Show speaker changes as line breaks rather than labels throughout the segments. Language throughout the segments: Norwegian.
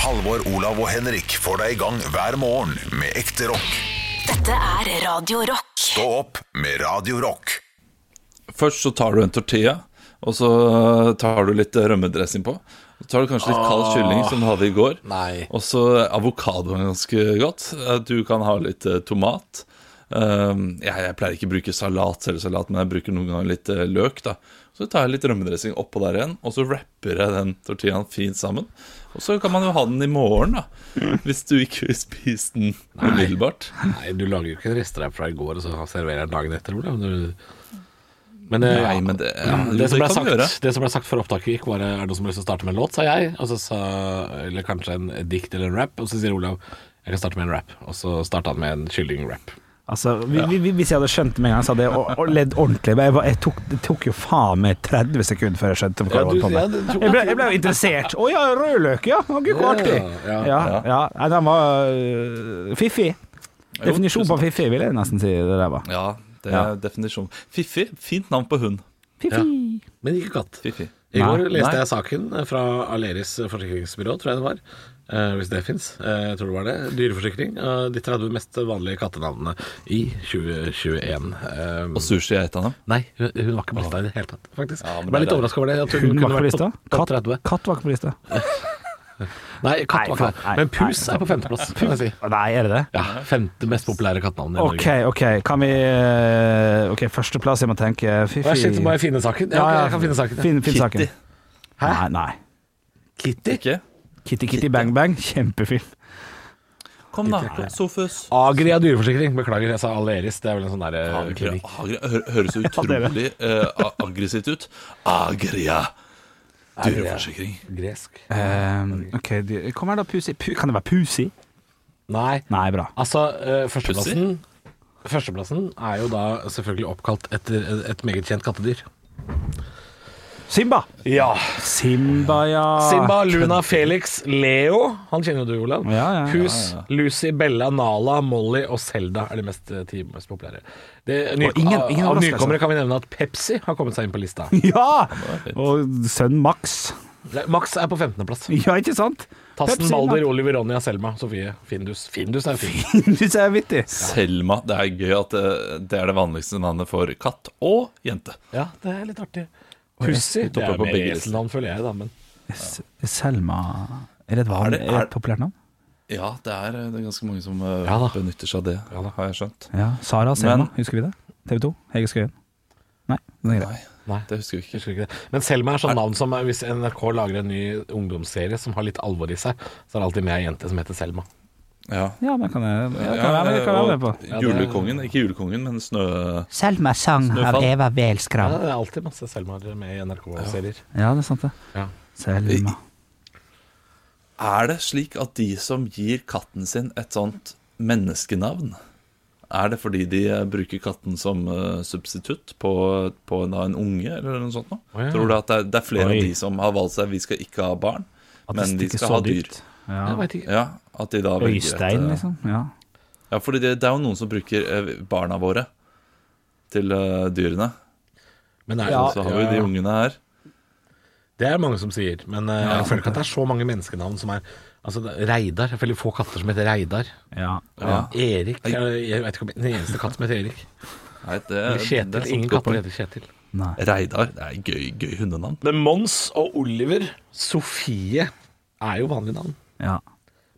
Halvor, Olav og Henrik får deg i gang hver morgen med ekte rock.
Dette er Radio Rock.
Stå opp med Radio Rock.
Først så tar du en tortilla, og så eh, tar du litt rømmedressing på. Så tar du kanskje litt kald kylling, som du hadde i går.
Nei.
Og så eh, avokado er ganske godt. Eh, Du kan ha litt eh, tomat. Um, jeg, jeg pleier ikke å bruke salat, selv salat, men jeg bruker noen ganger litt eh, løk. da Så tar jeg litt rømmedressing oppå der igjen, og så wrapper jeg den tortillaen fint sammen. Og så kan man jo ha den i morgen, da hvis du ikke vil spise den umiddelbart.
Nei, du lager jo ikke en restereip fra i går, og så serverer jeg den dagen etter, Olav. Du... Men, eh,
Nei,
ja.
men det, ja, jo,
det, som
det
ble
kan du
sagt,
gjøre.
det som ble sagt før opptaket gikk, var eh, Er det noen som har lyst til å starte med en låt, sa jeg. Og så sa, eller kanskje en dikt eller en rap. Og så sier Olav jeg kan starte med en rap. Og så starta han med en kylling-rap.
Altså, vi, vi, vi- Hvis jeg hadde skjønt det med en gang, så hadde jeg og- og ledd ordentlig. Men jeg, var, jeg tok, det tok jo faen meg 30 sekunder før jeg skjønte
Ja,
hva jeg holdt
du-
på
ja,
med.
det tok-
Jeg ble, jeg ble jo interessert. Å ja, rødløk, ja. Å, Gud, så artig.
Ja, ja,
Ja, ja. Nei, Den var øh, fiffig.
Jo,
Definisjon på fiffig, vil jeg nesten si. Det der var.
Ja, det er
Ja.
definisjon. Fiffi. Fint navn på hund.
Fiffig.
Men ikke katt.
Fiffi.
I går
Nei,
leste
nei.
jeg saken fra Aleris forsikringsbyrå, tror jeg det var. Eh, hvis det fins. jeg tror det var det. Dyreforsikring. eh, de 30 mest vanlige kattenavnene i 2021. Eh,
Og sushi er et av dem.
nei, hun, hun var ikke på lista i det hele tatt, faktisk.
Ja, men
jeg ble
det
litt
er-
overraska over det. At hun,
Hun
kunne
var ikke på
vært
lista.
Topp
Katt,
30.
katt var ikke på lista.
Nei, katt
Nei,
var ikke
faen,
det.
nei,
Men pus
nei,
er på femteplass, kan jeg si.
Nei, er det det?
Ja, femte mest populære kattenavn i
OK,
Norge.
OK. Kan vi øh, OK, førsteplass, jeg må tenke. øh,
Vær så
Fiffig.
snill, må jeg finne saken? Ja, ok, jeg kan finne saken.
Finn, finn saken.
Kitty.
Nei, nei.
Kitty.
Ikke?
Kitty Kitty Bang Bang, kjempefilm.
Kom da, Sofus.
Agria dyreforsikring. Beklager, jeg sa Aleris. Det er vel en sånn derre
Agria.
klinikk.
Agria. Hø- Høres jo utrolig eh, a- aggressivt ut. Agria. Dyreforsikring.
Gresk.
Ehm,
Um, ok, de, Kom her, da, Pusi. Pu kan det være Pusi?
Nei.
Nei, bra.
Altså, eh, førsteplassen Førsteplassen er jo da selvfølgelig oppkalt etter et meget kjent kattedyr.
Simba!
Ja.
Simba, ja.
Simba, Luna, Felix, Leo Han kjenner jo du, Olav.
Ah, Ja, ja, ja,
Pus, Lucy, Bella, Nala, Molly og Selda er de mest, eh, ti mest populære. Det, ny,
Og ingen- ingen
av, av
overraskelse.
nykommere kan vi nevne at Pepsi har kommet seg inn på lista.
Ja! Og sønnen Max.
Nei, Max er på 15.-plass.
Ja, ikke sant?
Tassen,
Pepsi,
Balder, Oliver, Ronja, Selma, Sofie, Findus. Findus er fin.
Max. Du ser vittig.
Selma. Det er gøy at eh, det er det vanligste navnet for katt og jente.
Ja, det er litt artig. Pussy
Høyt
det
oppe
er
på
mer
begge lister.
eselnavn, føler jeg, da, men
S- Selma Er det et,
Er
vanlig,
det-
er det
er-
et populært navn?
Ja, det er, det er ganske mange som eh,
Ja da.
benytter seg av det, har jeg skjønt.
Ja. Sara og Selma,
Men-
husker vi det? TV 2? Hege Skøyen? Nei, det er greit.
Nei,
Nei.
det husker vi
Jeg
ikke.
husker ikke det. Men Selma er sånn navn som er- hvis NRK lager en ny ungdomsserie som har litt alvor i seg, så er det alltid med ei jente som heter Selma.
Ja.
Ja, men kan jeg, jeg, kan
Ja,
være med, jeg kan være med på.
og julekongen, ikke julekongen, men snø...
Selma sang
av Snøfall.
Eva
Ja,
Welskrav.
det er alltid masse Selmaer med i NRK-serier.
Ja, det er sant, det.
Ja.
Selma.
Er det slik at de som gir katten sin et sånt menneskenavn, er det fordi de eh, bruker katten som eh, substitutt på, på en, da en unge, eller noe sånt? Nå?
Å, ja.
Tror du at det er, det er flere
Oi.
av de som har valgt seg vi skal ikke ha barn,
At det
men vi
stikker
skal
så
ha dyr?
dypt. Ja.
Jeg vet ikke.
Ja, at de da velger et,
Øystein,
eh,
liksom. Ja.
Ja, fordi det, det er jo noen som bruker eh, barna våre til eh, dyrene.
Men er det,
Ja.
Og så har vi de ungene her.
det er mange som sier. Men eh, jeg føler ikke at det er så mange menneskenavn som er Altså, det er Reidar. Jeg føler få katter som heter Reidar.
Ja.
Ja.
Erik. Jeg, jeg vet ikke om det er den eneste katt som heter Erik.
Nei, det,
Eller
det er
Kjetil.
sant.
Ingen katter heter Kjetil.
Nei.
Reidar. Det er et gøy, gøy hundenavn.
Men Mons og Oliver, Sofie er jo vanlige navn.
Ja.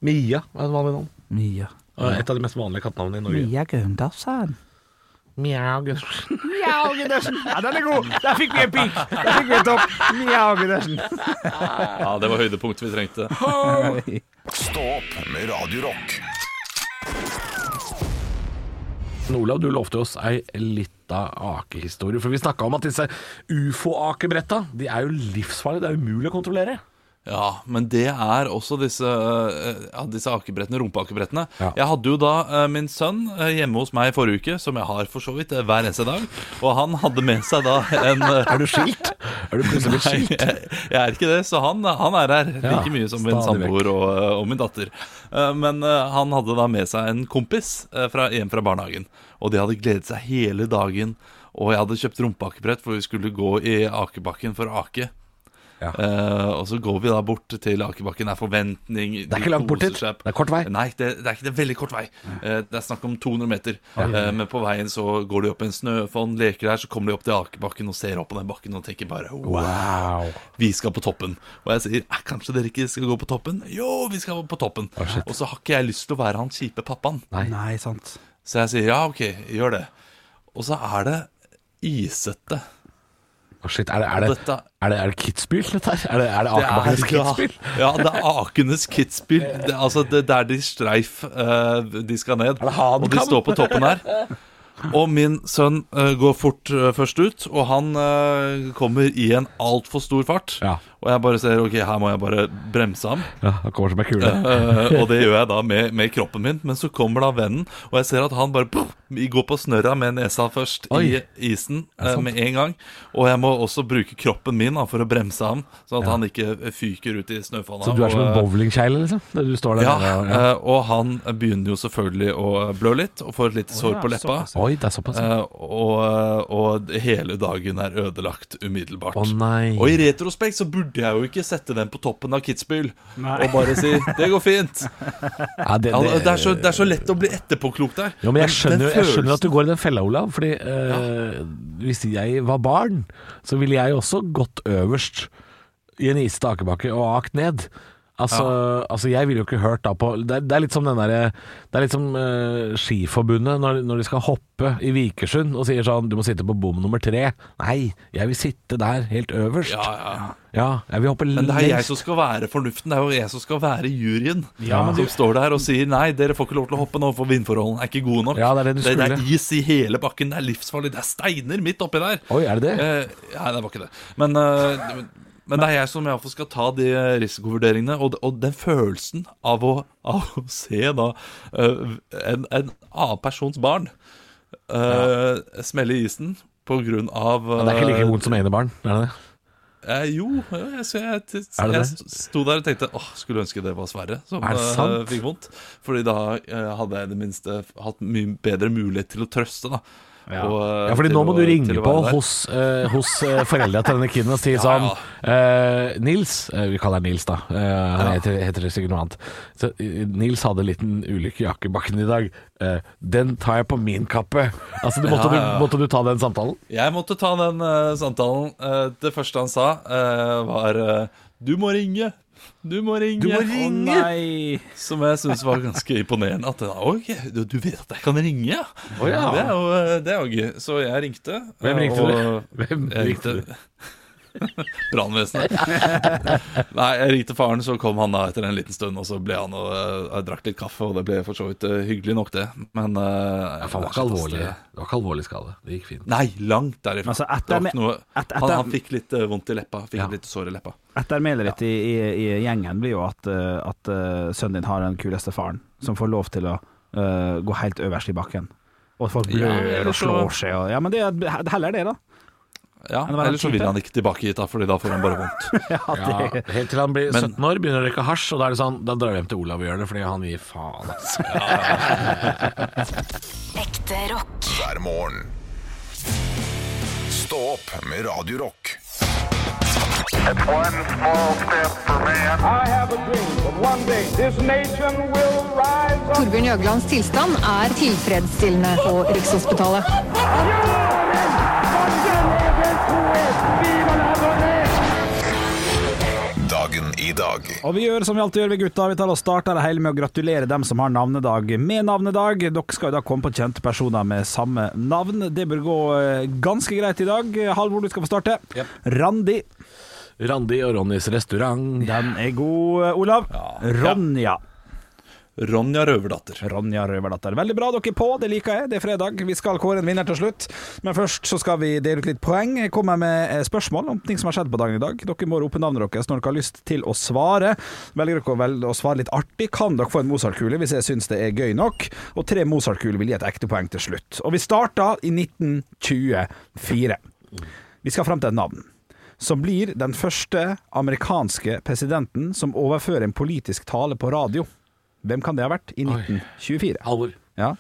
Mia er et vanlig navn.
Mia.
Og Et av de mest vanlige kattenavnene i Norge.
Mia Gaundavsan.
Mjau Gundersen.
Mjau Gundersen. Ja, den er god! Der fikk vi en pik! Der fikk vi en topp. Mjau Gundersen.
Ja, det var høydepunktet vi trengte.
Stå opp med Radio Rock.
Olav, du lovte oss ei lita akehistorie. For vi snakka om at disse ufo-akebretta de er jo livsfarlige. Det er umulig å kontrollere.
Ja, men det er også disse, eh, ja, disse akebrettene, rumpeakebrettene.
Ja.
Jeg hadde jo da eh, min sønn eh, hjemme hos meg i forrige uke, som jeg har for så vidt eh, hver eneste dag. Og han hadde med seg da en eh,
Er du skilt? Er du plutselig blitt
Nei,
skilt?
jeg, jeg er ikke det, så han, eh, han er her
Ja,
like mye som min
stadig
samboer og, eh, og min datter. Eh, Men eh, han hadde da med seg en kompis eh, fra, hjem fra barnehagen, og de hadde gledet seg hele dagen. Og jeg hadde kjøpt rumpeakebrett, for vi skulle gå i akebakken for å ake.
Ja.
Eh, og så går vi da bort til Akebakken. Det er forventning. Det
ikke langt bort dit. Det er kort vei.
Nei, det, det er ikke det er veldig kort vei. Eh, det er snakk om 200 meter. Eh, men på veien så går de opp en snøfonn, leker der, så kommer de opp til Akebakken og ser opp på den bakken og tenker bare wow,
Wow.
vi skal på toppen. Og jeg sier «Eh, kanskje dere ikke skal gå på toppen? Jo, vi skal på toppen. og så har ikke jeg lyst til å være han kjipe pappaen.
Nei, sant.
Så jeg sier ja, ok, gjør det. Og så er det isete.
Å, shit, er det, er det,
Og dette-
er det, er det Kitzbühel, dette her? Er det, er det
Det er-
Akebakkens Kitzbühel?
Ja, det er Akenes Kitzbühel. Det, altså, det der de streif eh, De skal ned.
det Hadekamp?
Og de står på toppen her. Og min sønn eh, går fort eh, først ut, og han eh, kommer i en altfor stor fart.
Ja.
Og jeg bare ser ok, her må jeg bare bremse ham.
Ja, han kommer som en kule.
Eh, og det gjør jeg da med, med kroppen min, men så kommer da vennen, og jeg ser at han bare puff, går på snørra med nesa først
Oi.
i isen eh, med en gang. Og jeg må også bruke kroppen min da, for å bremse ham, sånn at han ikke fyker ut i snøfonna.
Så du er som en
og, eh,
bowlingkjegle, liksom? Du står der
ja,
nede, ja.
eh, og han begynner jo selvfølgelig å eh, blø litt, og får et lite sår på leppa.
Oi, det er såpass.
Eh, og, eh, og hele dagen er ødelagt umiddelbart.
Å, nei.
Og i retrospekt så burde jeg jo ikke sette den på toppen av Kitzbühel
Nei.
og bare si 'det går fint'.
Ja, det,
Ja,
det,
det, er så, det er så lett å bli etterpåklok der.
Jo, men jeg skjønner, jeg skjønner at
følelsen-
du går i den fella, Olav. Fordi eh, hvis jeg var barn, så ville jeg også gått øverst i en isete akebakke og akt ned. Altså, altså, jeg ville jo ikke hørt da på Det er, det er litt som, den der, det er litt som eh, Skiforbundet når, når de skal hoppe i Vikersund og sier sånn Du må sitte på bom nummer tre. Nei, jeg vil sitte der, helt øverst.
ja, ja.
Ja, jeg vil hoppe
Men det er jeg
lengst.
som skal være fornuften. Det er jo jeg som skal være juryen
Ja, men
som står der og sier 'nei, dere får ikke lov til å hoppe nå, for vindforholdene er ikke gode nok'.
Ja, det er det du
det, det er
skulle.
is i hele bakken, det er livsfarlig, det er steiner midt oppi der.
Oi, er det det?
Eh, nei, det var ikke det. Men, eh, men det er jeg som iallfall skal ta de risikovurderingene. Og, og den følelsen av å, av å se da eh, en, en annen persons barn eh, smelle i isen på grunn av
Men det er ikke
eh,
like vondt som enebarn, er det det?
Eh, jo, ja, jeg, så jeg, t-
Er
jeg
det det?
st- sto der og tenkte åh, skulle ønske det var Sverre som
Er det
eh,
sant?
fikk vondt. Fordi da eh, hadde jeg i det minste hatt mye bedre mulighet til å trøste, da. Og, eh,
Ja, fordi
til
nå må
å-
du
til
ringe
å
på
være der.
hos, eh, hos eh, foreldra til denne kiden og si sånn eh, Nils eh, Vi kaller han Nils, da. Eh, han heter, heter det sikkert noe annet. Så, eh, Nils hadde en liten ulykke i akebakken i dag. Eh, den tar jeg på min kappe. Altså, du, måtte,
Ja, ja, ja.
Du, måtte du ta den samtalen?
Jeg måtte ta den eh, samtalen. Eh, det første han sa, eh, var eh, Du må ringe! Du må ringe!
Å nei!
Som jeg syntes var ganske imponerende. At «Ok, du, du vet at jeg kan ringe, ja?
Å ja.
Det, er jo, eh, det er jo gøy. Så jeg ringte.
Hvem
eh,
ringte du?
og-
Hvem
Jeg
ringte du?
ringte Brannvesenet. Nei, jeg ringte faren, så kom han da etter en liten stund, og så ble han og eh, jeg drakk litt kaffe, og det ble for så vidt eh, hyggelig nok, det. Men eh,
Ja, faen, det var ikke alvorlig Det var ikke alvorlig skade. Det gikk fint.
Nei, langt derifra.
Altså, etter-
det var ikke noe,
et- etter-
han, han fikk litt eh, vondt i leppa. Fikk
Ja.
et lite sår i leppa.
Ettermælet ditt i, i, i gjengen blir jo at, eh, at eh, sønnen din har den kuleste faren, som får lov til å eh, gå helt øverst i bakken. Og folk
Ja,
blør
eller
og
så-
slår seg og Ja, men det er heller det, da.
Ja,
det var
Eller så
den
vil
type.
han ikke tilbake hit, da, Fordi da får han bare vondt.
Ja, helt til han blir
Men-
17 år, begynner å røyke hasj, og da er det sånn Da drar vi hjem til Olav og gjør det, fordi han gir faen, altså.
Ekte rock.
hver morgen. Stå opp med Radio Rock.
One small step for man.
I have a dream that one day this nation will rise up.
Torbjørn Jøglands tilstand er tilfredsstillende på Rikshospitalet.
Dagen i dag.
Og vi gjør som vi alltid gjør, vi gutta. Vi tar og starter det hele med å gratulere dem som har navnedag med navnedag. Dere skal jo da komme på kjente personer med samme navn. Det bør gå eh, ganske greit i dag. Halvor, du skal få starte. Randi.
Randi og Ronnys restaurant.
Den er god, eh, Olav. Ronja.
Ronja Røverdatter.
Ronja Røverdatter. Veldig bra, dere er på. Det liker jeg. Det er fredag. Vi skal kåre en vinner til slutt. Men først så skal vi dele ut litt poeng. Jeg kommer med eh, spørsmål om ting som har skjedd på dagen i dag. Dere må rope navnet deres når dere har lyst til å svare. Velger dere å, velge å svare litt artig, kan dere få en Mozart-kule hvis jeg syns det er gøy nok. Og tre Mozart-kuler vil gi et ekte poeng til slutt. Og vi starta i 1924. Vi skal fram til et navn. Som blir den første amerikanske presidenten som overfører en politisk tale på radio. Hvem kan det ha vært i
Oi.
1924?
Halvor.
Ja.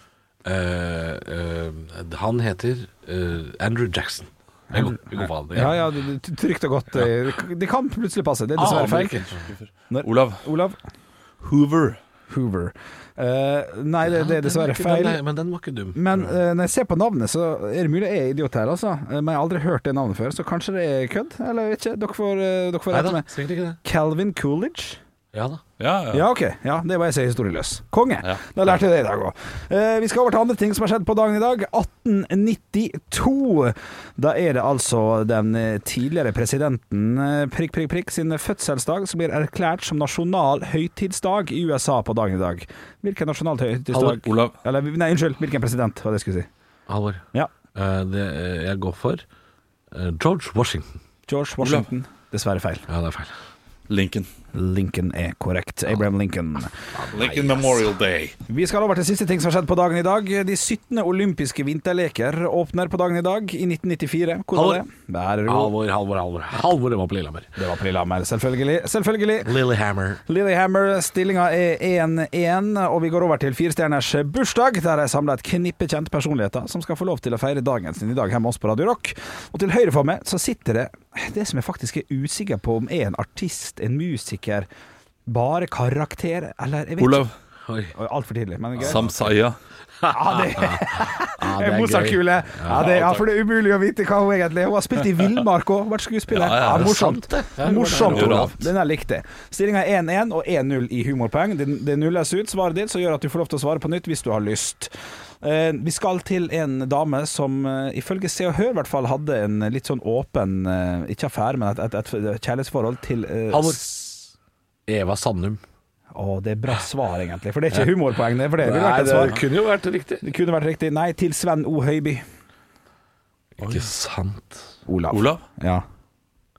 Eh, eh, han heter eh, Andrew Jackson. Jeg går, jeg går for andre.
Ja, ja, du- du- trygt og godt. eh, Det kan plutselig passe. Det
Ah,
er dessverre feil.
American.
Olav
Olav
Hoover.
Hoover. Eh, nei, det, det er dessverre
Den er ikke-
feil.
den er- Men den var ikke dum.
Men eh, når jeg ser på navnet, så er det mulig jeg er idiot her, altså. Eh, Men jeg har aldri hørt det navnet før, så kanskje det er kødd? Eller jeg vet ikke. Dere får, eh, dere får
Nei
rette
da,
meg.
sikkert ikke det.
Calvin Coolidge?
Ja da.
Ja, ja.
Ja, OK. Ja, det var jeg ser historieløs. Konge.
Ja.
Da lærte jeg det i dag òg. vi skal over til andre ting som har skjedd på dagen i dag. 1892. Da er det altså den eh, tidligere presidenten eh, prikk, prikk, prikk sin fødselsdag som blir erklært som nasjonal høytidsdag i USA på dagen i dag. Hvilken nasjonal høytidsdag?
Olav.
Eller, nei, unnskyld. Hvilken president, var det jeg skulle si.
Halvor.
Ja.
Eh, det, eh, jeg går for eh, George Washington.
George Washington. Dessverre feil.
Ja, det er feil.
Lincoln.
Lincoln er korrekt. Abraham Lincoln.
Lincoln Memorial Day.
Vi skal over til siste ting som har skjedd på dagen i dag. De 17. olympiske vinterleker åpner på dagen i dag i 1994. Hvordan var det? Der er det god.
Halvor, Halvor, Halvor. Halvor det var på Lillehammer.
Det var på Lillehammer, selvfølgelig. Selvfølgelig.
Lillehammer.
Lillehammer, stillinga er 1-1, og vi går over til firestjerners bursdag, der jeg samla et knippe kjente personligheter som skal få lov til å feire dagen sin i dag hjemme hos oss på Radio Rock. Og til høyre for meg så sitter det det som jeg faktisk er usikker på om er en artist, en musiker, bare karakter, eller jeg vet
Olav
Oi.
ikke. Altfor tidlig, men greit.
Samsaya.
Ja, det
Ja,
er Eh, Mozart-kule. Ja, det- ja, for det er umulig å vite hva hun egentlig er. Hun har spilt i Villmark òg, vært skuespiller.
Ja, ja,
Ja,
det er
morsomt.
sant, det. Ja, det var
Morsomt,
det.
Olav. Den her likte jeg. Stillinga er 1-1 og 1-0 i humorpoeng. Det det nulles ut svaret ditt, så gjør at du får lov til å svare på nytt hvis du har lyst. Eh, Vi skal til en dame som eh, ifølge Se og Hør i hvert fall hadde en litt sånn åpen, eh, ikke affære, men et, et, et kjærlighetsforhold til eh,
Halvor.
s-
Eva Sandum.
Å, det er bra svar, egentlig. For det er ikke humorpoeng, det. For det ville vært et svar.
kunne jo vært riktig.
Det kunne vært riktig. Nei, til Sven O. Høiby.
Ikke sant.
Olav.
Olav
Ja.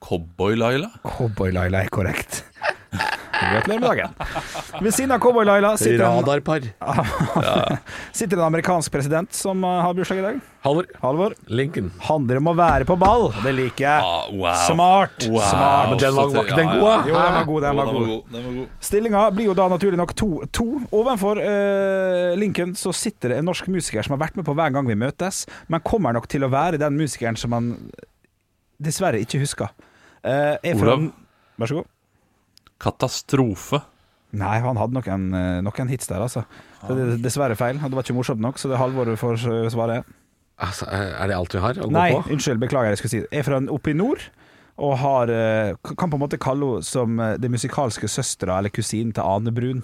Cowboy-Laila.
Cowboy-Laila er korrekt. Gratulerer med dagen. Ved siden av Cowboy-Laila sitter, en-
Radarpar.
sitter en amerikansk president som uh, har bursdag i dag.
Halvor.
Halvor.
Lincoln.
Handler om å være på ball. Det liker jeg.
Ah, wow.
Smart.
Wow.
Smart.
Men den var- var ikke den god, da?
Jo, den var god. Den var god.
Den var god.
Stillinga blir jo da naturlig nok 2-2. Ovenfor eh, Lincoln så sitter det en norsk musiker som har vært med på hver gang vi møtes, men kommer nok til å være den musikeren som han dessverre ikke husker. Eh, er fra-
Olav?
Vær så god.
Katastrofe.
Nei, han hadde noen, eh, noen hits der, altså. Så det er dessverre feil. og Det var ikke morsomt nok, så det er Halvor du får eh, svaret.
Altså, er det alt vi har å gå
Nei,
på?
unnskyld, beklager, jeg skulle si det. Er fra en oppe i nord. Og har, eh, kan på en måte kalle henne som eh, det musikalske søstera eller kusinen til Ane Brun.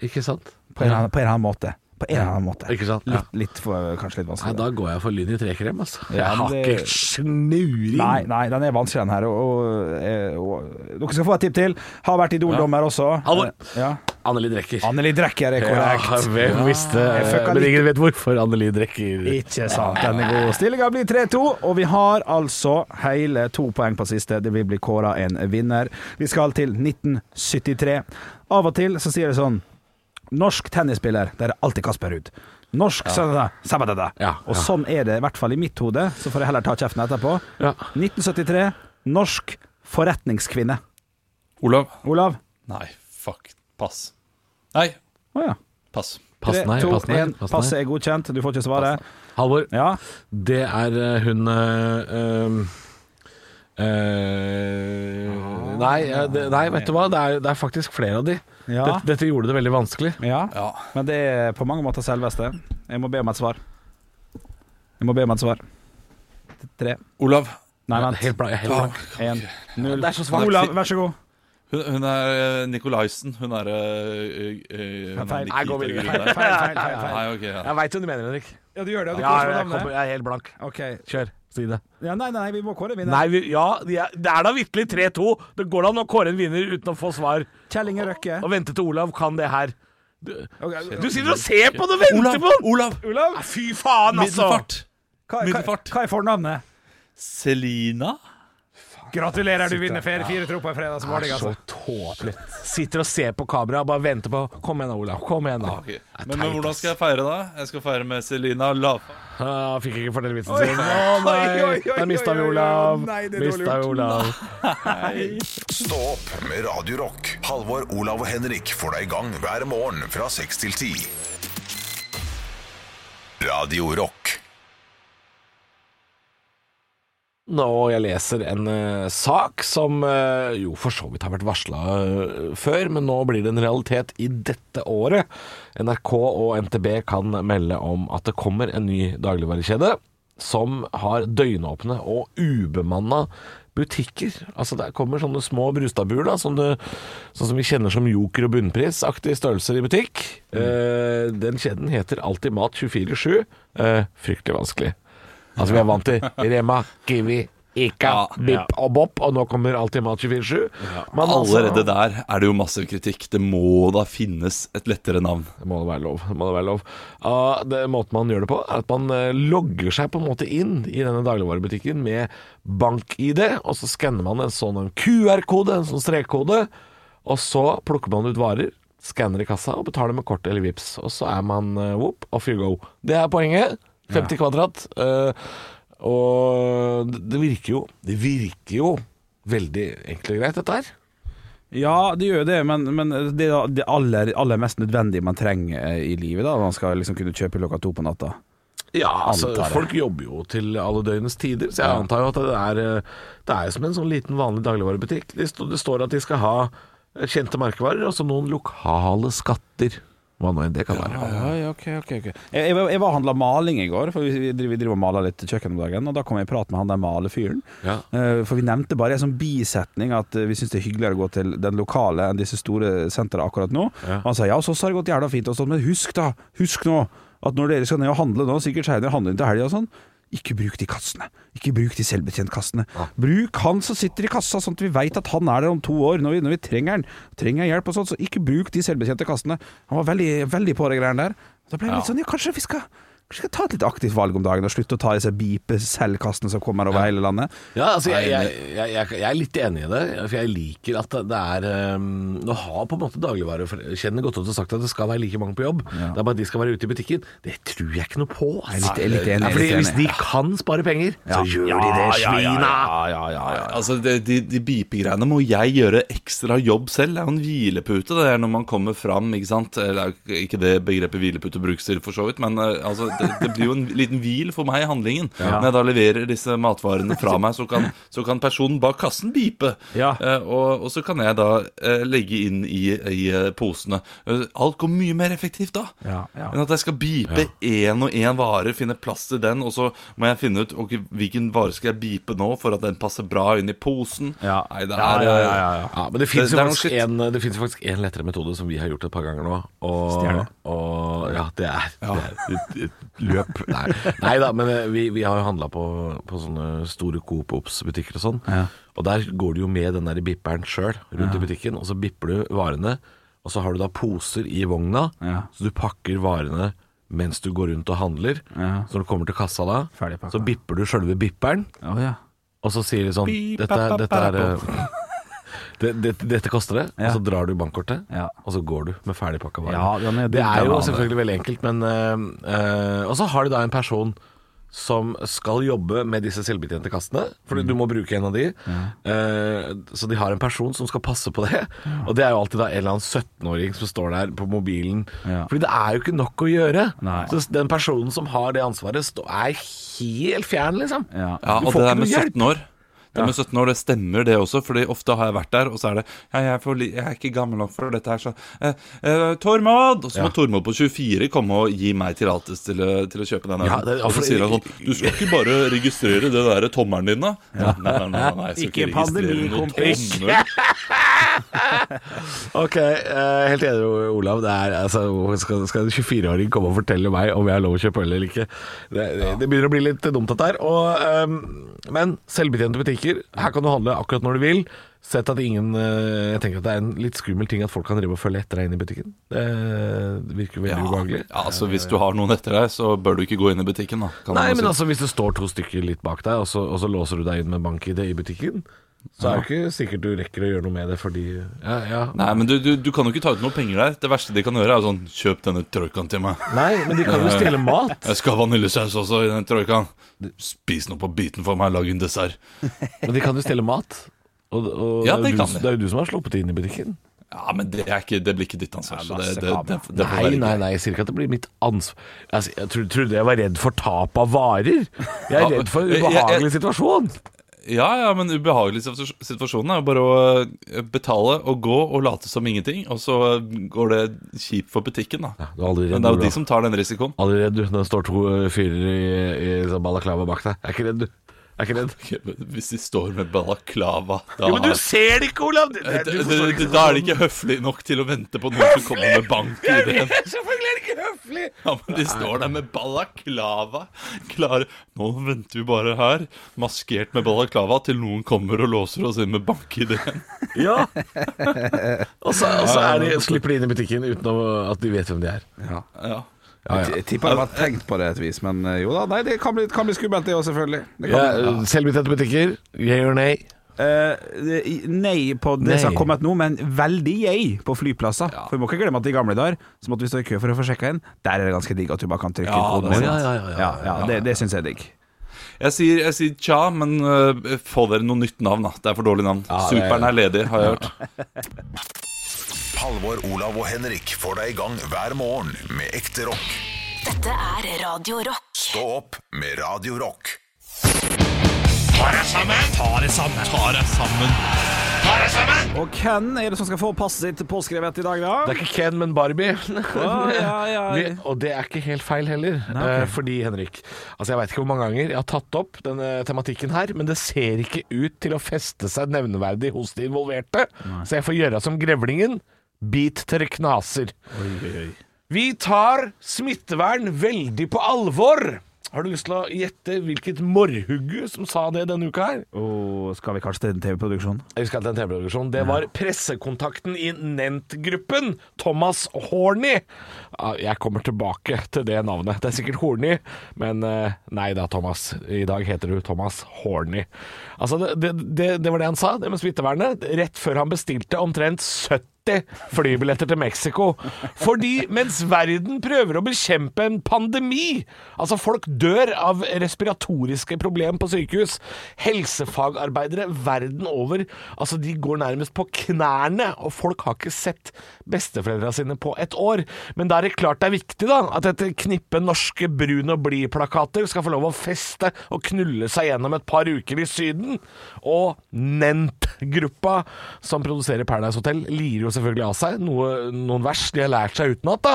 Ikke sant?
På en, eller annen- på en eller annen måte. På en eller annen måte.
Ikke sant? Ja.
Litt, litt for, eh, kanskje litt
Nei,
vanskelig.
da går jeg for lyn i trekrem, altså.
Ja,
Jeg har
men det-
ikke snuring.
Nei, nei, den er vanskelig, den her. Og, og, eh, og, dere skal få et tipp til. Har vært Idol-dommer også.
Halvor.
Eh, Ja.
Anneli Drekker.
Anneli Drekker er korrekt.
Ja, hvem visste
Jeg fucka
Men
litt.
ingen vet hvorfor Anneli Drekker
Ikke sant. Den er god. Stillinga blir 3-2, og vi har altså hele to poeng på siste. Det vil bli kåra en vinner. Vi skal til 1973. Av og til så sier det sånn Norsk tennisspiller, der er alltid Kasper Ruud. Norsk ja. sabadada.
Ja,
Og
ja.
sånn er det i hvert fall i mitt hode, så får jeg heller ta kjeften etterpå.
Ja.
1973. Norsk forretningskvinne.
Olav.
Olav?
Nei, fuck. Pass. Nei,
Å ja.
pass.
Pass nei,
to,
pass nei.
en.
Pass
Passet
nei.
er godkjent, du får ikke svaret.
Halvor,
Ja.
det er eh, ehm, hun eh, eh, eh, nei, eh, det, nei, vet du hva? Det er, det er faktisk flere av de.
Ja.
Dette, dette gjorde det veldig vanskelig.
ja.
Ja.
Men det er på mange måter selveste. Jeg må be om et svar. Jeg må be om et svar. Tre.
Olav.
Nei, vent.
Helt blank. Helt blank.
En, null.
Det er så svakt.
Olav, vær så god.
Hun, hun er eh, Nicolaisen. Hun er eh, eh, eh, hun er
Feil.
Nikita
Nei, gå videre.
Grunberg.
Feil, feil, feil. feil.
Nei, ok. Ja.
Jeg veit hva du mener, Henrik.
Ja, du gjør det. Du
Ja,
koser
jeg,
deg med
kommer,
det.
jeg er helt blank.
Ok.
Kjør, si det.
Ja, nei, nei, vi må kåre en vinner.
Nei, vi, ja, de er- det er da vitterlig 3-2. Det går da an å kåre en vinner uten å få svar.
Kjell Inge Røkke.
Og vente til Olav kan det her. Du,
Ok,
du sitter og ser på det og venter
Olav!
på det!
Olav!
Olav,
Nei, Fy faen, altså!
Middelfart.
hva, hva,
Middelfart.
hva er fornavnet?
Selina?
Gratulerer, du vinner fer- fire tro på en fredagsmorgen. Altså.
tåpelig. Sitter og ser på kameraet og bare venter på Kom igjen da, Olav. Kom igjen, da.
Ok. Men, men hvordan skal jeg feire da? Jeg skal feire med Selina Lavfang.
Ah, fikk ikke fortelle vitsen sin. Å
Oi, oi,
nei!
oi, oi,
Der mista vi
oi, oi, oi.
Olav.
Nei, det er dårlig
Mista
gjort.
vi Olav.
Stå opp med Radio Rock. Halvor, Olav og Henrik får deg i gang hver morgen fra 6 til 10. Radio Rock.
og jeg leser en eh, sak som eh, jo for så vidt har vært varsla før, men nå blir det en realitet i dette året. NRK og NTB kan melde om at det kommer en ny dagligvarekjede som har døgnåpne og ubemanna butikker. Altså Der kommer sånne små Brustadbuer, da, som du, sånn som vi kjenner som joker- og bunnprisaktige størrelser i butikk. Eh, den kjeden heter Alltid Mat 24-7. Eh, fryktelig vanskelig. Altså Vi er vant til Rema, Kiwi, Ica,
Ja,
Bip og Bopp, og nå kommer Alltid Mat 24-7. Men altså-
Allerede der er det jo massiv kritikk. Det må da finnes et lettere navn.
Det må det være lov. Det må det være lov. Ja, det, måten man gjør det på, er at man eh, logger seg på en måte inn i denne dagligvarebutikken med bank-ID, og så skanner man en sånn en QR-kode, en sånn strekkode, og så plukker man ut varer, skanner i kassa og betaler med kort eller vips. Og så er man eh, whoop, off you go. Det er poenget. 50 kvadrat. eh, og det det virker jo Det virker jo veldig enkelt og greit, dette her.
Ja, det gjør jo det, men, men det er da det aller, aller mest nødvendige man trenger eh, i livet. da Man skal liksom kunne kjøpe klokka to på natta.
Ja, altså,
Antar jeg.
folk jobber jo til alle døgnets tider, så jeg antar jo at det er, eh, det er jo som en sånn liten vanlig dagligvarebutikk. Det, sto- det står at de skal ha eh, kjente merkevarer, og så noen lokale skatter. Hva nå enn det kan være.
Jeg, jeg, var- jeg var og handla maling i går, for vi, vi driver vi driver og maler litt kjøkken om dagen. Og da kom jeg i prat med han der malefyren.
Ja.
Eh, For vi nevnte bare en sånn bisetning at eh, vi syns det er hyggeligere å gå til den lokale enn disse store sentrene akkurat nå.
Ja.
Og han sa ja, så har det gått jævla fint og sånn, men husk da, husk nå at når dere skal ned og handle nå, sikkert Scheider handler inn til helga og sånn, ikke bruk de kassene. Ikke bruk de selvbetjentkassene. Bruk han som sitter i kassa, sånn at vi veit at han er der om to år når vi, når vi trenger han. Trenger jeg hjelp og sånn, så ikke bruk de selvbetjente kassene. Han var veldig, veldig på de greiene der. Da ble jeg litt sånn ja, kanskje vi skal Kanskje vi skal ta et litt aktivt valg om dagen og slutte å ta disse beepe-selvkastene som kommer over hele landet.
Ja, altså jeg, jeg, jeg, jeg, jeg er litt enig i det, for jeg liker at det- det er um, Nå har på en måte dagligvarekjedene gått ut og sagt at det skal være like mange på jobb. Det er bare at de skal være ute i butikken. Det tror jeg ikke noe på. Altså.
Jeg er litt- jeg er litt enig,
Nei, fordi
jeg er litt
Hvis de kan spare penger, så gjør de det, svina!
Altså, det, De, de beepegreiene må jeg gjøre ekstra jobb selv. Det er jo en hvilepute det er når man kommer fram. Ikke sant? Eller, det er jo ikke det begrepet hvilepute brukes til, for så vidt, men eh, altså, det, det blir jo en liten hvil for meg i handlingen. Når jeg da leverer disse matvarene fra meg, så kan, så kan personen bak kassen beepe.
Ja.
Eh, og, og så kan jeg da eh, legge inn i, i eh, posene. Eh, Alt går mye mer effektivt da.
Ja, ja.
Enn Sånn at jeg skal beepe én og én vare, finne plass til den, og så må jeg finne ut ok, hvilken vare skal jeg beepe nå for at den passer bra inn i posen.
Ja.
Nei, det
Ja,
er eh,
ja, ja, ja.
Ja, men det finnes,
Det- det
jo
er noe
faktisk
skitt.
en, det finnes jo faktisk en lettere metode som vi har gjort et par ganger nå. Og,
Stjerne.
og ja, det er, det er et, et løp. Nei, nei da, men eh, vi, vi har jo handla på, på sånne store Coop Ops-butikker og sånn. Og der går du jo med den der bipperen sjøl rundt i butikken, og så bipper du varene. Og så har du da poser i vogna,
Ja.
så du pakker varene mens du går rundt og handler.
Ja.
Så når du kommer til kassa da,
Ferdig pakka.
så bipper du sjølve bipperen.
Å, ja.
Og så sier de sånn Dette, er- dette er eh, det, det, Dette koster det, og så drar du bankkortet,
Ja.
og så går du med ferdigpakka varer.
Ja, den er-
det er jo
den er-
selvfølgelig veldig enkelt, men eh, eh, Og så har de da en person som skal jobbe med disse selvbetjente kastene, Fordi
Mm.
du må bruke en av de. Eh, så de har en person som skal passe på det. Og det er jo alltid da en eller annen 17-åring som står der på mobilen.
Ja.
Fordi det er jo ikke nok å gjøre.
Nei.
Så den personen som har det ansvaret, stå- er helt fjern, liksom.
Ja.
Ja, og
Du får
det
ikke
der med
noe hjelp.
17 år det med 17 år, det stemmer det også, Fordi ofte har jeg vært der, og så er det Ja, jeg er, for, li- jeg er ikke gammel nok for dette her, så eh, eh, Tormod! Og så må Tormod på 24 komme og gi meg tillatelse til, å- til å kjøpe den. her.
Ja, det- ja,
og så
for-
sier han sånn Du skal ikke bare registrere det derre tommelen din, da? Nei, nei, nei, nei, jeg skal
Ikke
ikke registrere
pandemi,
noen
kompis.
tommel.
Ok, eh, helt enig Olav det er, altså, hvorfor Skal, skal en 24-åring komme og fortelle meg Om jeg har lov å kjøpe øl eller ikke Det, det, det begynner å bli litt dumt dette her og, eh, Men selvbetjente butikker Her kan du handle akkurat når du vil Sett at ingen eh, Jeg tenker at det er en litt skummel ting At folk kan drive og følge etter deg inn i butikken Det virker veldig ubehagelig
Ja, altså Hvis du har noen etter deg, så bør du ikke gå inn i butikken. da kan
Nei,
man
men
si.
altså hvis det står to stykker litt bak deg Og så, og så låser du deg inn med bank-ID i butikken Så er det ikke sikkert du rekker å gjøre noe med det Fordi, ja, ja
Nei, men du, du, du kan jo ikke ta ut noe penger der. Det verste de kan gjøre, er sånn Kjøp denne troikaen til meg.
Nei, men de kan jo stjele mat
Jeg skal ha vaniljesaus også i den troikaen. Spis noe på biten for meg, lag en dessert.
Men de kan jo stjele mat. Og, og
Ja,
det, er
det
jo
kan
du,
de.
det er jo du som har sluppet inn i butikken.
Ja, men det, er ikke, det blir ikke ditt ansvar. Så det,
masse
det, det, det, får
Nei,
være
nei,
greit.
nei, jeg sier ikke at det blir mitt ansvar altså, Jeg tro- trodde jeg var redd for tap av varer. Jeg er
Ja,
redd for en
jeg- jeg-
ubehagelig situasjon.
Ja, ja, men ubehagelig situas- situasjonen er jo bare å eh, betale og gå og late som ingenting, og så eh, går det kjipt for butikken, da.
Du er aldri
Men
redd,
det er jo
du, da.
de som tar den risikoen.
Aldri redd, du. Når det står to eh, fyrer i, i sånn balaklava bak deg. Jeg er ikke redd, du. Jeg er ikke redd.
Ok, men Hvis de står med balaklava, da
Jo, men du ser det ikke, Olav! Du,
Eh, d-
du
d-
forstår
d- Da er det ikke høflig nok til å vente på noen som kommer med bank i ideen.
Selvfølgelig er det ikke høflig!
Ja, men de står der med balaklava klare. Nå venter vi bare her, maskert med balaklava, til noen kommer og låser oss inn med bank-ideen.
Ja. og så, og så er de, slipper de inn i butikken uten å- at de vet hvem de er.
Ja.
Ja, ja.
Jeg tipper de har tenkt på det et vis, men eh, jo da. Nei, det kan bli, kan bli skummelt, det òg, selvfølgelig. Det kan,
Ja, Selvbetjente butikker, yeah or nay?
Eh, det- nei på det som har
Nei.
kommet nå, men veldig yay på flyplasser. For vi må ikke glemme at i gamle dager så måtte vi stå i kø for å få sjekka inn. Der er det ganske digg at du bare kan trykke
Ja,
inn koden.
det er
din.
sant. Ja, ja, ja, ja,
ja, ja, Det, det syns jeg er digg.
Jeg sier, jeg sier tja, men eh, få dere noe nytt navn, da. Det er for dårlig navn.
Ja, det er-
Superen er ledig, har jeg hørt.
Halvor, Olav og Henrik får deg i gang hver morgen med ekte rock.
Dette er Radio Rock.
Stå opp med Radio Rock.
Og hvem er det som skal få passet sitt påskrevet i dag, da?
Det er ikke Ken, men Barbie.
Å, ja, ja.
Vi, og det er ikke helt feil heller. eh, Fordi, Henrik Altså Jeg veit ikke hvor mange ganger jeg har tatt opp denne tematikken her, men det ser ikke ut til å feste seg nevneverdig hos de involverte. Så jeg får gjøre som grevlingen. Bit til det knaser. Vi tar smittevern veldig på alvor. Har du lyst til å gjette hvilket morrhugge som sa det denne uka her?
Å, skal vi kanskje til en TV-produksjon?
Jeg husker at det er en TV-produksjon. Det var pressekontakten i Nent-gruppen, Thomas Horny. Ah, Jeg kommer tilbake til det navnet. Det er sikkert Horny, men eh, nei da, Thomas. I dag heter du Thomas Horny. Altså, det, det, det, det var det han sa, det med smittevernet, rett før han bestilte omtrent 70 flybilletter til Mexico. Fordi mens verden prøver å bekjempe en pandemi Altså, folk dør av respiratoriske problem på sykehus. Helsefagarbeidere verden over Altså, de går nærmest på knærne, og folk har ikke sett besteforeldra sine på et år. Men da er det klart det er viktig, da, at et knippe norske brun og blid-plakater skal få lov å feste og knulle seg gjennom et par uker i Syden. Og Nent-gruppa som produserer Paradise Hotel, lirer jo selvfølgelig av seg noe, noen vers de har lært seg utenat, da.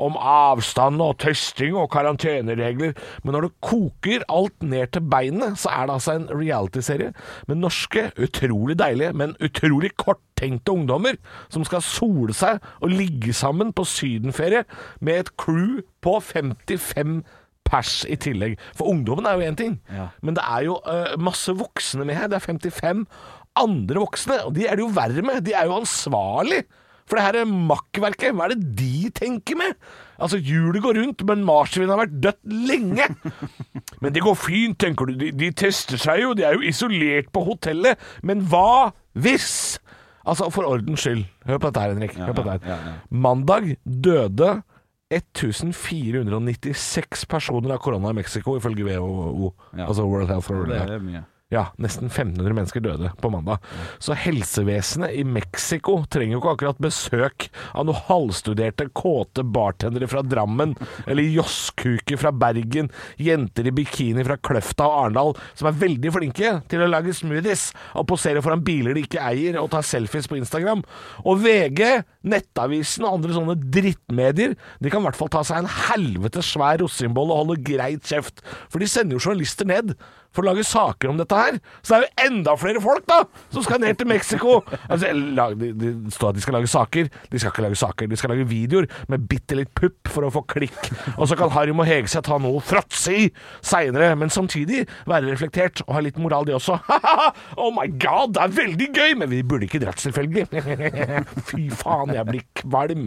Om avstand og testing og karanteneregler. Men når det koker alt ned til beinet, så er det altså en realityserie med norske, utrolig deilige, men utrolig korttenkte ungdommer som skal sole seg og ligge sammen på sydenferie med et crew på 55 pers i tillegg. For ungdommen er jo én ting, men det er jo eh, masse voksne med her. Det er 55 andre voksne, og de er det jo verre med. De er jo ansvarlig for det her eh, makkverket. Hva er det de tenker med? Altså, hjulet går rundt, men marsvinet har vært dødt lenge. Men det går fint, tenker du. De, de tester seg jo, de er jo isolert på hotellet. Men hva hvis? Altså, for ordens skyld, hør på dette her, Henrik. Hør på dette her. Mandag døde 1496 personer av korona i Mexico, ifølge WHO. Altså World Health Organization.
mye.
Ja, nesten 1500 mennesker døde på mandag. Så helsevesenet i Mexico trenger jo ikke akkurat besøk av noen halvstuderte, kåte bartendere fra Drammen, eller josskuker fra Bergen, jenter i bikini fra Kløfta og Arendal, som er veldig flinke til å lage smoothies og posere foran biler de ikke eier, og ta selfies på Instagram. Og VG, Nettavisen og andre sånne drittmedier, de kan i hvert fall ta seg en helvetes svær rosseinnbolle og holde greit kjeft, for de sender jo journalister ned for å lage saker om dette her. Så det er jo enda flere folk da som skal ned til Mexico. Altså, eller lag- de- de- Det står at de skal lage saker. De skal ikke lage saker, de skal lage videoer med bitte litt pupp for å få klikk. Og så kan Harm og Hegseth ha noe å fråtse i seinere, men samtidig være reflektert og ha litt moral, de også. oh my god, det er veldig gøy! Men vi burde ikke dratt, selvfølgelig. Fy faen, jeg blir kvalm.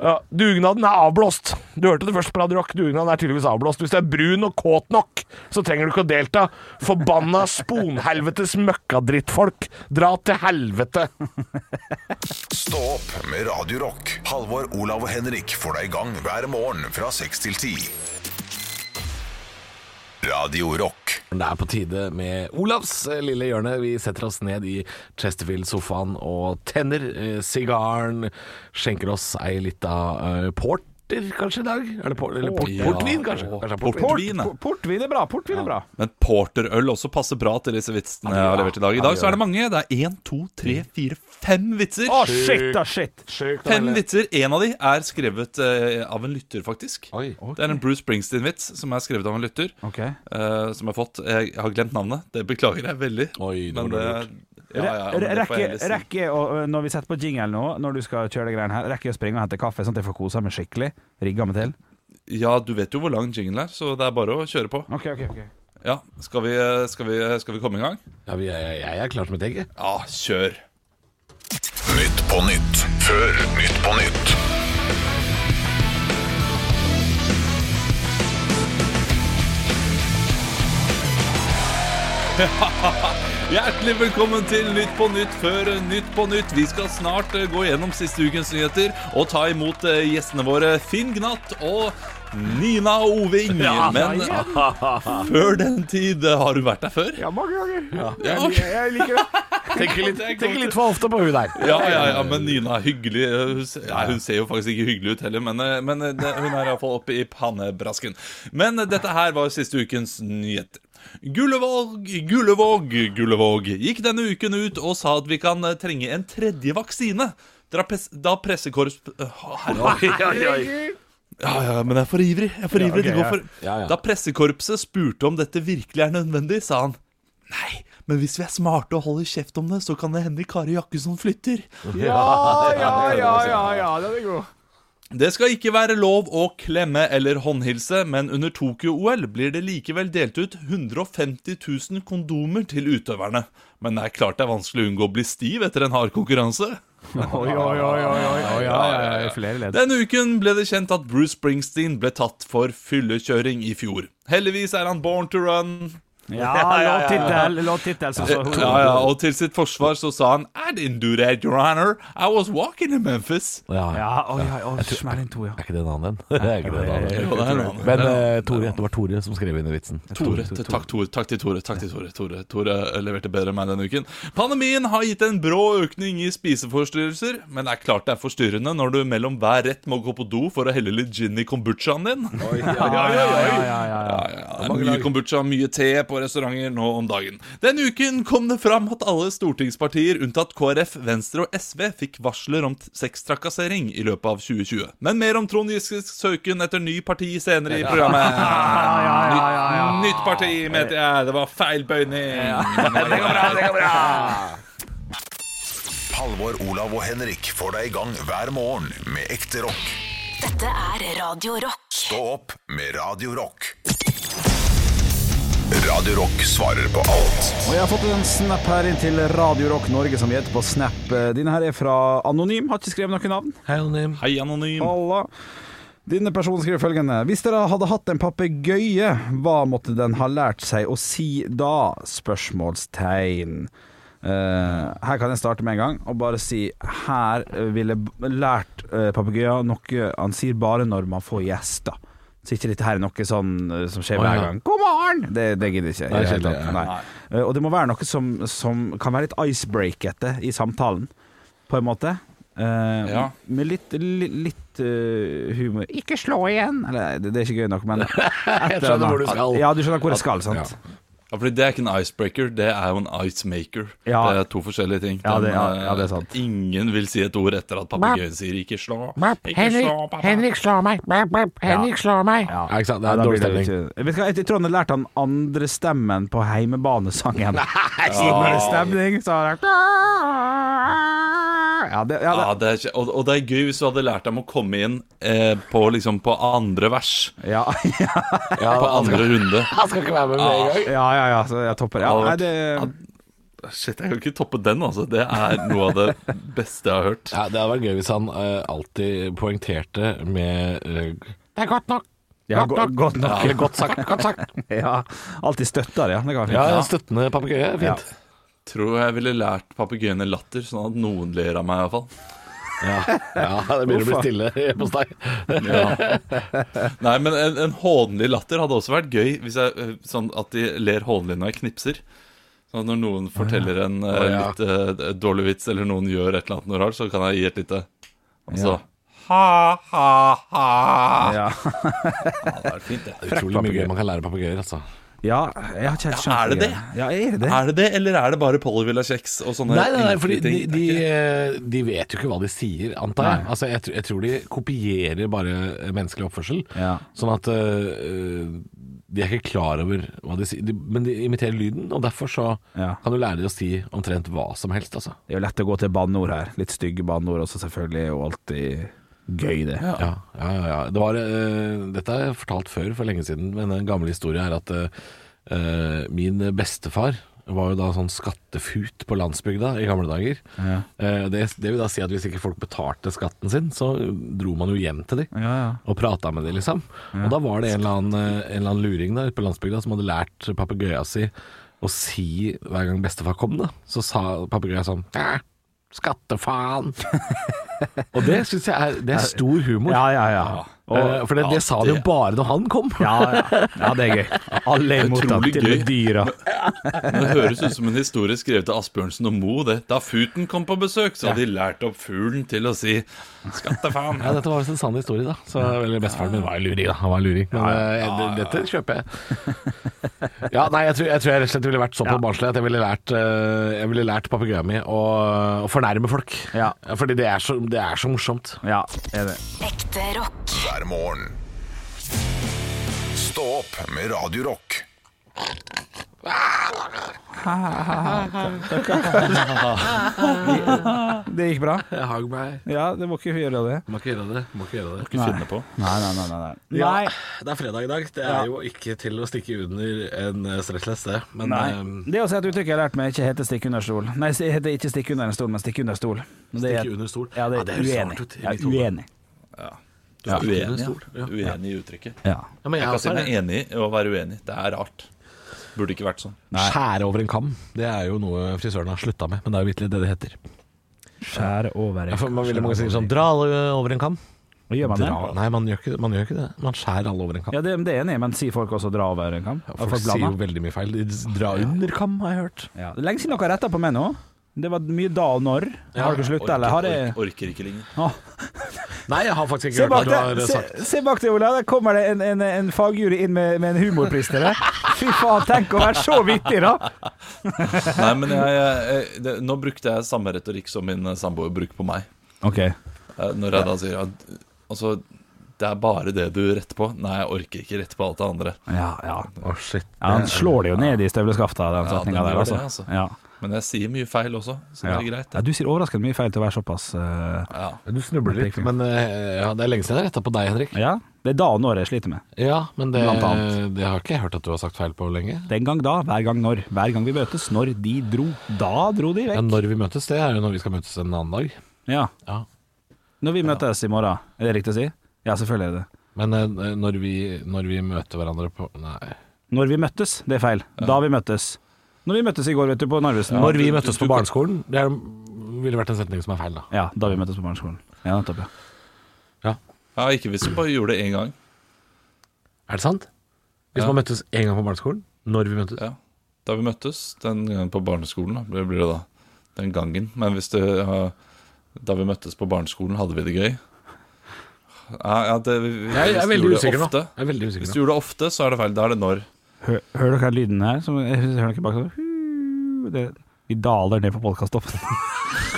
Ja, dugnaden er avblåst. Du hørte det først på Radio Rock. Dugnaden er tydeligvis avblåst. Hvis du er brun og kåt nok, så trenger du ikke å delta. Forbanna sponhelvetes møkkadrittfolk. Dra til helvete.
Stå opp med Radio Rock. Halvor, Olav og Henrik får deg i gang hver morgen fra 6 til 10. Radio Rock.
Det er på tide med Olavs eh, lille hjørne. Vi setter oss ned i Chesterfield-sofaen og tenner eh, sigaren, skjenker oss ei lita eh, port porter kanskje i dag? Er det por eller port
Ja.
portvin, kanskje? kanskje det er portvin?
Port-
Portvin,
Portvin,
portvin er bra. Portvin er bra.
Men porterøl også passer bra til disse vitsene jeg har levert i dag. I dag så er det mange. Det er én, to, tre, fire, fem vitser.
Å, shit, da, shit.
Sjukt,
Fem
eller?
vitser. En av de er skrevet eh, av en lytter, faktisk.
Oi.
Det er en Bruce Springsteen-vits som er skrevet av en lytter.
Ok.
eh, som jeg har fått. Jeg har glemt navnet. Det beklager jeg veldig.
Oi, det var
men det
dårlig
ja, ja, men det får jeg
Rekke,
heller si.
rekke å, når vi setter på jingle nå, når du skal kjøre de greiene her, rekke å springe og hente kaffe, sånn at jeg får kosa meg skikkelig? Rigga meg til?
ja, du vet jo hvor lang jingle er, så det er bare å kjøre på.
Ok, ok, ok.
Ja, Skal vi, eh, skal vi, skal vi komme i gang?
Ja, vi er, jeg er klar som et egg. jeg.
Ja, kjør.
Nytt på nytt før Nytt på nytt.
Hjertelig velkommen til Nytt på Nytt før Nytt på Nytt. Vi skal snart eh, gå gjennom siste ukens nyheter og ta imot eh, gjestene våre Finn Gnatt og Nina Oving. Men før den tid eh, Har du vært der før?
Ja, mange ganger.
Jeg-
liker det.
Tenker litt, tenker litt for ofte på hun der.
Ja, ja, ja, men Nina er hyggelig. Eh, Hun, se- nei, hun ser jo faktisk ikke hyggelig ut heller, men, eh, men eh, det- hun er iallfall oppe i pannebrasken. Men eh, dette her var siste ukens nyheter. Gullevåg, Gullevåg, Gullevåg gikk denne uken ut og sa at vi kan eh, trenge en tredje vaksine. Da, pres da pressekorps... Å, herregud. Ja, ja, men jeg er for ivrig. Jeg er for ivrig. Det går for...
Ja, ja.
Da pressekorpset spurte om dette virkelig er nødvendig, sa han Nei, men hvis vi er smarte og holder kjeft om det, så kan det hende Kari Jakkesson flytter.
Ja, ja, ja, ja, den er god.
Det skal ikke være lov å klemme eller håndhilse, men under Tokyo-OL blir det likevel delt ut 150 000 kondomer til utøverne. Men det er klart det er vanskelig å unngå å bli stiv etter en hard konkurranse.
Oi, oi, oi, oi, oi. oi, ja, ja, ja. Flere ledd.
Denne uken ble det kjent at Bruce Springsteen ble tatt for fyllekjøring i fjor. Heldigvis er han born to run.
Ja, låttittel, låttittel. Så, så,
Ja, ja, og til sitt forsvar så sa han I didn't do that, your honor. I was walking in Memphis.
Ja, ja.
Ja, oi, oi, oi, smell inn to, ja.
Er ikke det en annen en? Det er ikke det en annen en.
Jo, det er noe annet.
Men eh, Tore, det var Tore som skrev inn i vitsen.
Tore, takk, Tore, takk til Tore. Takk til Tore. Tore, Tore eh, leverte bedre enn meg denne uken. Pandemien har gitt en brå økning i spiseforstyrrelser, men det er klart det er forstyrrende når du mellom hver rett må gå på do for å helle litt gin i kombuchaen din.
Ja, ja, ja, ja, ja, ja.
Ja, ja, det er mye kombucha, mye te på restauranter nå om dagen. Denne uken kom det fram at alle stortingspartier unntatt KrF, Venstre og SV fikk varsler om t- sextrakassering i løpet av 2020. Men mer om Trond Giskes søken etter ny parti senere i programmet. Nytt, nytt parti, mente jeg. Det var feil bøyning. Det går bra, det går bra.
Halvor, Olav og Henrik får deg i gang hver morgen med ekte rock.
Dette er Radio Rock.
Stå opp med Radio Rock. Radio Rock svarer på alt.
Og jeg har fått en snap her inn til Radio Rock Norge som heter på Snap. Dine her er fra Anonym, har ikke skrevet noe navn.
Hei, Anonym.
Hei, Anonym.
Halla. Denne personen skriver følgende Hvis dere hadde hatt en papegøye, hva måtte den ha lært seg å si da? Spørsmålstegn. Eh, her kan jeg starte med en gang og bare si her eh, ville b- lært uh, papegøyen noe han sier bare når man får gjester. Så ikke dette her er noe sånn eh, som skjer
Å, ja.
hver gang. God morgen! Det, det gidder jeg ikke. i
Nei,
det hele
kjedelig,
tatt.
ja.
Nei. Eh, og det må være noe som, som kan være litt icebreakete i samtalen, på en måte. Eh,
Ja.
Med litt, li, litt eh, humor. Ikke slå igjen! Eller, det, det er ikke gøy nok, men Jeg
skjønner hvor du skal.
Ja, du skjønner hvor jeg skal, sant?
Ja, fordi Det er ikke en icebreaker, det er jo en icemaker.
Ja.
Det er to forskjellige ting.
Ja, det-
Den,
ja, ja, det er
eh,
sant.
Ingen vil si et ord etter at papegøyen sier 'ikke slå'. Ikke slå, pappa.
slår meg. Henrik slår meg.
Ja.
Ja, ikke sant? Det er
Ja, da
dårlig
blir
stemning.
det ikke- Vet du hva, jeg tror han har lært han andre stemmen på heimebanesangen. Andre stemning, så har han ja, det, ja, det,
Ja, det er, ikke- og, og det er gøy hvis du hadde lært dem å komme inn eh, på, liksom, på andre vers.
ja, ja,
på andre runde.
Han skal ikke være med med en gang.
ja, ja, så jeg topper.
Ah,
Ja, nei, det,
Shit, jeg kan ikke toppe den, altså. Det er noe av det beste jeg har hørt.
Ja, det hadde vært gøy hvis han eh, alltid poengterte med eh,
Det er godt nok.
ja, go- godt nok.
Eller godt sagt. Godt sagt.
Ja, alltid støtter det, ja. Det kan være
Ja,
fint.
støttende papegøye. Fint.
Tror jeg ville lært papegøyene latter, sånn at noen ler av meg iallfall.
Ja. ja, det begynner å bli stille hjemme hos deg.
Ja. Nei, men en, en hånlig latter hadde også vært gøy, hvis jeg, eh, sånn at de ler hånlig når jeg knipser. Sånn at når noen forteller en eh,
Å, ja.
litt eh, dårlig vits, eller noen gjør et eller annet når rart, så kan jeg gi et lite Og så Ha-ha-ha.
Ja.
Ja, det er fint, det.
Utrolig mye gøy man kan lære papegøyer, altså.
ja, jeg har ikke helt skjønt
Ja, er det det?
Ja, er det det?
Er det det, eller er det bare Polyvilla-kjeks og sånne
Nei, nei, nei fordi
enkle
de,
ting?
de,
Det er ikke-
eh, de vet jo ikke hva de sier, antar jeg. Altså, jeg, tr- jeg tror de kopierer bare eh, menneskelig oppførsel.
Ja.
Sånn at eh, de er ikke klar over hva de sier. De, men de imiterer lyden, og derfor så
Ja.
kan du lære de å si omtrent hva som helst, altså.
Det er jo lett å gå til banneord her. Litt stygge banneord også, selvfølgelig. Og alltid gøy, det.
Ja, ja, ja. ja. Det var, eh, dette har jeg fortalt før for lenge siden, men en gammel historie er at eh, eh, min bestefar var jo da sånn skattefut på landsbygda i gamle dager. Eh, det, det vil da si at hvis ikke folk betalte skatten sin, så dro man jo hjem til de
ja.
og prata med de, liksom. Og da var det en eller annen, eh, en eller annen luring der på landsbygda som hadde lært papegøya si å si hver gang bestefar kom, da. Så sa papegøya sånn «Æ, Skattefaen! og det syns jeg er, det er stor humor.
Ja, ja, ja.
Eh, for det, det sa de jo bare når han kom.
Ja, ja. ja, det er gøy. Alle er imot han,
Utrolig
til og med
gøy.
dyra.
Men det høres ut som en historie skrevet av Asbjørnsen og Moe. det. Da Futen kom på besøk, så hadde de lært opp fuglen til å si 'skattefaen'.
Ja, dette var visst en sann historie, da. Så eller Bestefaren min var en luring, da. Han var en luring. Men eh, det- dette kjøper jeg. Ja, nei, jeg tror jeg, tror jeg rett og slett ville vært såpass barnslig at jeg ville lært, eh, jeg ville lært papegøyen min å, å fornærme folk.
Ja.
Fordi det er så, det er så morsomt.
Ja, er det.
Ekte rock.
hver morgen. Stå opp med Radio Rock.
Det gikk bra?
Jeg hang meg.
Ja, det må ikke gjøre det.
Må ikke gjøre det. Må ikke gjøre det.
Ikke finne på.
Nei, nei, nei. nei, nei.
Ja, det er fredag i dag. Det er jo ikke til å stikke under en eh, stressless, det. Men
Nei.
eh,
Det er også et uttrykk jeg har lært meg ikke heter 'stikk under stol'. Nei, det heter ikke 'stikk under en stol', men 'stikk under stol'. Det er-
Stikke under stol.
Ja, det
Ja,
er,
det høres rart
uenig.
ut i
Ja,
mitt hode.
uenig.
Du er uenig, ja.
Stol, ja.
uenig i uttrykket.
Ja.
ja, men
Jeg
jeg
kan si
også er
meg enig i å være uenig. Det er rart. Burde ikke vært sånn.
Skjære over en kam. Det er jo noe frisøren har slutta med, men det er jo vitterlig det det heter.
Skjære over
Ja, for man ville mange si sånn Dra alle over en kam.
Hva gjør man det?
Dra. Nei, man gjør, ikke, man gjør ikke det. Man skjærer alle over en kam.
Ja, det, det er enig, men sier folk også 'dra over en kam'?
Folk sier jo veldig mye feil. De s- Dra under kam, har jeg hørt.
Ja. Det er lenge siden dere har retta på meg nå. Det var mye da og når. har dere slutta, eller? Har jeg
orker, orker ikke lenger.
Åh.
Nei, jeg har faktisk ikke
Se
hørt hva
bak,
du har
deg, se,
sagt.
se bak deg, Ola. Der kommer det en, en, en fagjury inn med, med en humorpris til deg. Fy faen, tenk å være så vittig, da!
Nei, men jeg, jeg, det, nå brukte jeg samme retorikk som min eh, samboer bruker på meg.
Ok.
Eh, Når jeg da sier at altså, det er bare det du retter på. Nei, jeg orker ikke rette på alt det andre.
Ja, ja.
Å, shit.
Ja, han slår det jo ned i støvleskaftet, den
Ja,
setninga
den
der.
gjør
Altså.
det, altså.
Ja.
Men jeg sier mye feil også, så det
Ja.
er greit.
Ja, du sier overraskende mye feil til å være såpass eh,
Ja.
Du snubler litt. Men eh, ja, det er lenge siden jeg retta på deg, Henrik.
Ja. Det er da og når jeg sliter med.
Ja, men det,
Blant annet.
det har ikke jeg hørt at du har sagt feil på lenge.
Den gang da, hver gang når. Hver gang vi møtes, når de dro. Da dro de
Ja,
vekk.
når vi møtes, det er jo når vi skal møtes en annen dag.
Ja.
Ja.
Når vi møtes i morgen, er det riktig å si? Ja, selvfølgelig er det det.
Men eh, når, vi, når vi møter hverandre på Nei.
Når vi møttes, det er feil. Da vi møttes. Når vi møttes i går, vet du, på Narvesen.
Når vi
du-
møttes
du-
på
du-
barneskolen, det er, ville vært en setning som er feil, da.
Ja, da vi møttes på barneskolen. Ja, nettopp, ja.
ja, ikke hvis du bare gjorde det én gang.
Er det sant? Hvis
Ja.
man møttes én gang på barneskolen? Når vi møttes?
Ja. Da vi møttes den gangen på barneskolen, da, blir blir det da den gangen. Men hvis det ja, Da vi møttes på barneskolen, hadde vi det gøy. Ja, ja, det, vi, vi-
Jeg,
hvis du
er veldig
gjorde det
usikker nå.
ofte-
Jeg er veldig usikker
Hvis
nå.
du gjorde det ofte, så er det feil. Da er det når.
Hør, hører dere lyden her? Som, hører dere bak sånn? Det, vi daler ned på podkasttoppen.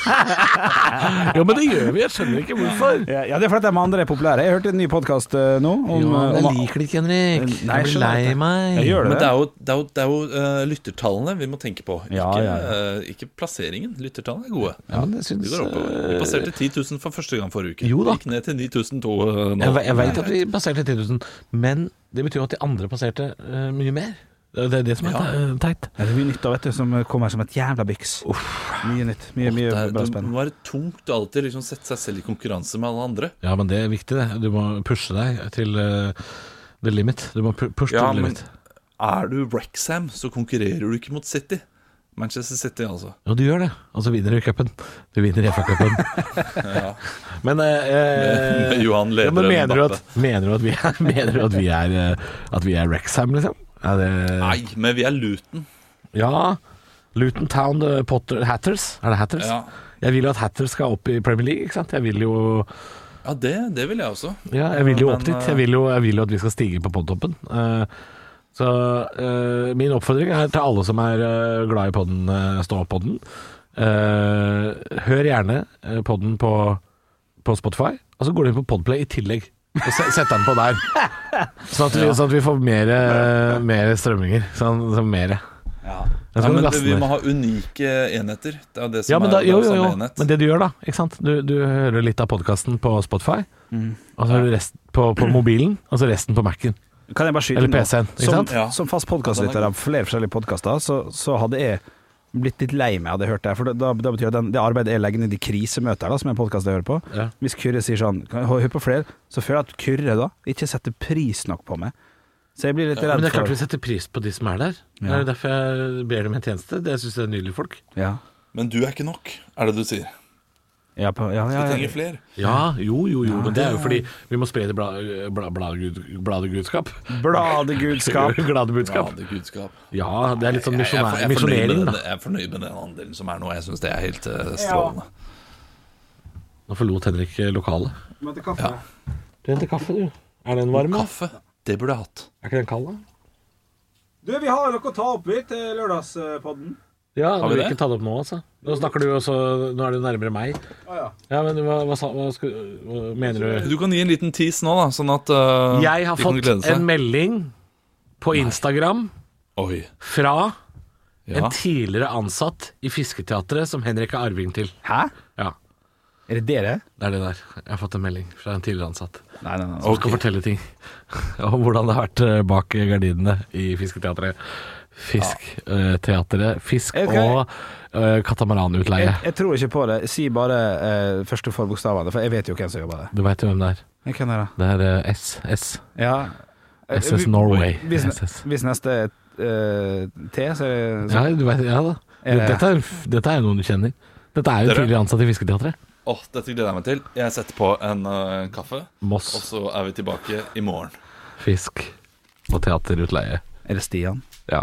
Ja, men det gjør vi. Jeg skjønner ikke hvorfor.
Ja, ja, det er fordi de andre er populære. Jeg hørte en ny podkast nå om, eh, om
liker det ikke, Henrik.
Nei, jeg skjønner ikke. Jeg gjør
Men
det.
det er jo, det er jo, det er jo eh, lyttertallene vi må tenke på, ikke,
Ja, ja,
eh, ikke plasseringen. Lyttertallene er gode.
Ja, men jeg eh,
Vi
syns
går oppover. Vi passerte 10 000 for første gang forrige uke.
Jo da.
Vi Gikk ned til 9002 eh, nå.
Jeg, ve- jeg veit at vi passerte 10 000, men det betyr jo at de andre passerte eh, mye mer. Det det er det som er te- eh, teit.
Ja, Det er mye nytt da, vet du, som kommer som et jævla byks. Mye nytt. Mye, mye
Det, er,
bra
det
spenn.
må være tungt å alltid liksom sette seg selv i konkurranse med alle andre.
Ja, men det er viktig, det. Du må pushe deg til eh, the limit. Du må pu- pushe
Ja,
to the
men
limit.
er du Wrexham, så konkurrerer du ikke mot City. Manchester City, altså.
Jo, du gjør det. Og så vinner du cupen. Du vinner FA-cupen. Men eh, eh,
Med Johan
ja, men
Lederen
mener, du at,
Mbappe.
mener du at vi er, mener du at vi er, eh, at vi er Rexham, liksom? Er det,
Nei, men vi er Luton.
Ja. Luton Town eh, Potter Hatters. Er det Hatters?
Ja.
Jeg vil jo at Hatters skal opp i Premier League, ikke sant? Jeg vil jo
Ja, det, det vil jeg også.
Ja, jeg vil jo
Men,
opp dit.
eh,
Jeg vil jo, jeg vil jo at vi skal stige på podtoppen. Eh, så eh, min oppfordring er til alle som er eh, glad i podden, eh, stå opp podden. Eh, hør gjerne eh, podden på, på Spotify, og så går du inn på Podplay i tillegg. Og se- setter den på der. Sånn at vi, sånn at vi får mer, eh, mer strømminger. Sånn, sånn mer. Jeg
Ja,
skal
men
laste
det, vi
ned.
må ha unike enheter. Det er jo det som
Ja, men,
er
da, jo,
det er
jo, jo.
samme enhet.
men det du gjør da, ikke sant? Du, du hører litt av podkasten på Spotify,
Mm.
og så hører du resten på, på mobilen, og så resten på Mac-en.
Kan jeg bare skyte
Eller
inn nå?
PC-en, ikke
Som,
sant?
Ja.
som fast podkastlytter av flere forskjellige podkaster, så, så hadde jeg blitt litt lei meg hadde jeg hørt det. For det- da, da betyr det at den, det arbeidet jeg legger ned i krisemøter, da, som er en podkast jeg hører på
Ja.
Hvis Kyrre sier sånn Kan jeg høre på flere? Så føler jeg at Kyrre da ikke setter pris nok på meg. Så jeg blir litt
Men
redd
det er klart
for
vi setter pris på de som er der. Det er derfor jeg ber dem en tjeneste. Det syns jeg er nydelige folk.
ja.
Men du er ikke nok, er det du sier.
Ja, på, ja,
Vi
ja, ja.
trenger flere.
Ja, jo, jo, jo, men det er jo fordi vi må spre det bla- bla- bladegud- bladegudskap.
Bladegudskap.
Ja,
Gladebudskap.
det er gudskap.
Ja, det er litt sånn
Jeg- jeg er for- jeg
misjonær-
er fornøyd med
misjonering,
den-
da.
Jeg er fornøyd med den andelen som er nå. Jeg syns det er helt eh, strålende.
Nå forlot Henrik eh, lokalet. Du henter kaffe, du. Er den varm? da?
Kaffe, det burde jeg hatt.
Er ikke den kald, da?
Du, vi har noe å ta opp i til lørdagspodden.
Ja, du
vi
vil
det?
ikke ta det opp nå, altså. Nå snakker du også Nå er du nærmere meg. Ja, men hva, hva, sa- hva, skal, hva mener du?
Du kan gi en liten tease nå, da, sånn at eh,
Jeg har
de kan
fått
glede seg.
en melding på Instagram
Oi.
fra
Ja.
en tidligere ansatt i Fisketeatret som Henrik er arving til.
Hæ?
Ja,
Er det dere?
det er det der. Jeg har fått en melding fra en tidligere ansatt som
Nei, nei, nei.
skal fortelle ting om hvordan det har vært eh, bak gardinene i Fisketeatret. Fisk, eh, teatret, fisk
Ok.
og eh,
Jeg,
katamaranutleie.
jeg tror ikke på det. Si bare eh, første for bokstavene, for jeg vet jo hvem som jobber der.
Du veit jo hvem det er.
Jeg kan det.
Det er eh, S. S.
Ja. Eh,
SS
vi-
Norway.
Hvis,
SS.
hvis neste er eh, T, så er det så,
Ja, Eh. du vet, ja da.
Er det-
Dette er, dette er jo noen du kjenner. Dette er jo
Dere?
tidligere ansatt i Fisketeatret.
Åh, dette gleder jeg meg til. Jeg setter på en eh, kaffe, og
Moss,
så er vi tilbake i morgen.
fisk og teaterutleie.
Er det Stian?
Ja.